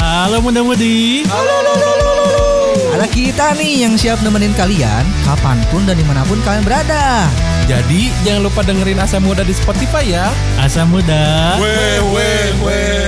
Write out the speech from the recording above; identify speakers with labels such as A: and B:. A: Halo muda-mudi.
B: Ada kita nih yang siap nemenin kalian kapanpun dan dimanapun kalian berada.
C: Jadi jangan lupa dengerin Asam Muda di Spotify ya.
A: Asam muda.
D: Weh, weh, weh.
B: Ya,